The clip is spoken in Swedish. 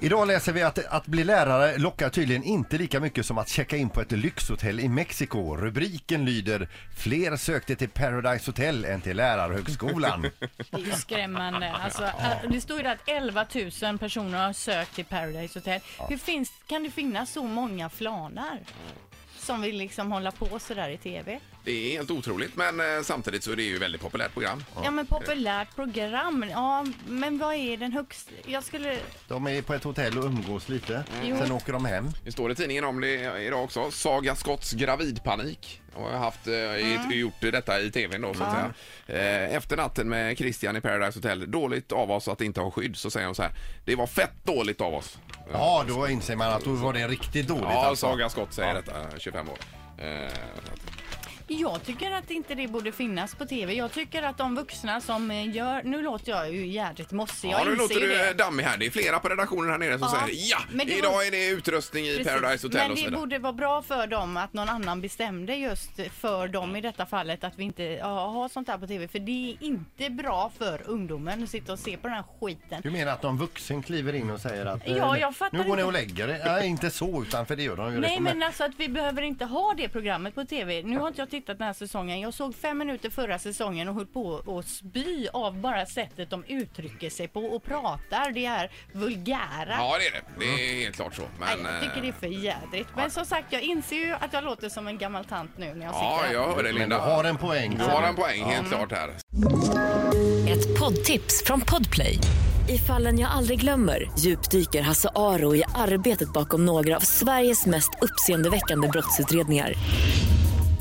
Idag läser vi att att bli lärare lockar tydligen inte lika mycket som att checka in på ett lyxhotell i Mexiko. Rubriken lyder Fler sökte till Paradise Hotel än till lärarhögskolan. Det är ju skrämmande. Alltså, äh, det står ju där att 11 000 personer har sökt till Paradise Hotel. Hur finns, kan det finnas så många flanar? Som vill liksom hålla på sådär i TV. Det är helt otroligt, men eh, samtidigt så är det ju ett väldigt populärt program. Ja, men populärt program. Ja, men vad är den högsta? Jag skulle... De är på ett hotell och umgås lite. Jo. Sen åker de hem. Det står i tidningen om det idag också. Saga Scotts gravidpanik. Och har haft, eh, i- gjort detta i tvn då så att säga. Eh, Efter natten med Christian i Paradise Hotel, dåligt av oss att inte ha skydd, så säger hon så här. Det var fett dåligt av oss. Ja, då inser man att då var det riktigt dåligt. Ja, alltså. Saga Scott säger detta, 25 år. Eh, Jag tycker att inte det borde finnas på TV. Jag tycker att de vuxna som eh, gör... Nu låter jag ju jädrigt mossig. Jag ja, nu inser låter ju du det. eh, dammig här. Det är flera på redaktionen här nere som Ja, säger ja, men det idag var- är det utrustning i Precis, Paradise Hotel Men och så det vidare. borde vara bra för dem att någon annan bestämde just för dem i detta fallet att vi inte ja, har sånt här på tv. För det är inte bra för ungdomen att sitta och se på den här skiten. Du menar att någon vuxen kliver in och säger att eh, Ja, jag fattar nu går ni inte. och lägger er? Nej, inte så, utan för det gör de ju. liksom. Nej redan. men alltså att vi behöver inte ha det programmet på tv. Nu har inte jag tittat den här säsongen. Jag såg fem minuter förra säsongen och höll på att spy av bara sättet de uttrycker sig på och pratar. Det är vulgära. Ja, det är det. Det är helt klart så. Men, eh, Nej, jag tycker det är för jädrigt. Men som sagt, jag inser ju att jag låter som en gammal tant nu när jag sitter Ja, här. jag hör dig Men du Linda. har en poäng. Du har en poäng helt klart här. Ett poddtips från Podplay. I fallen jag aldrig glömmer djupdyker Hasse Aro i arbetet bakom några av Sveriges mest uppseendeväckande brottsutredningar.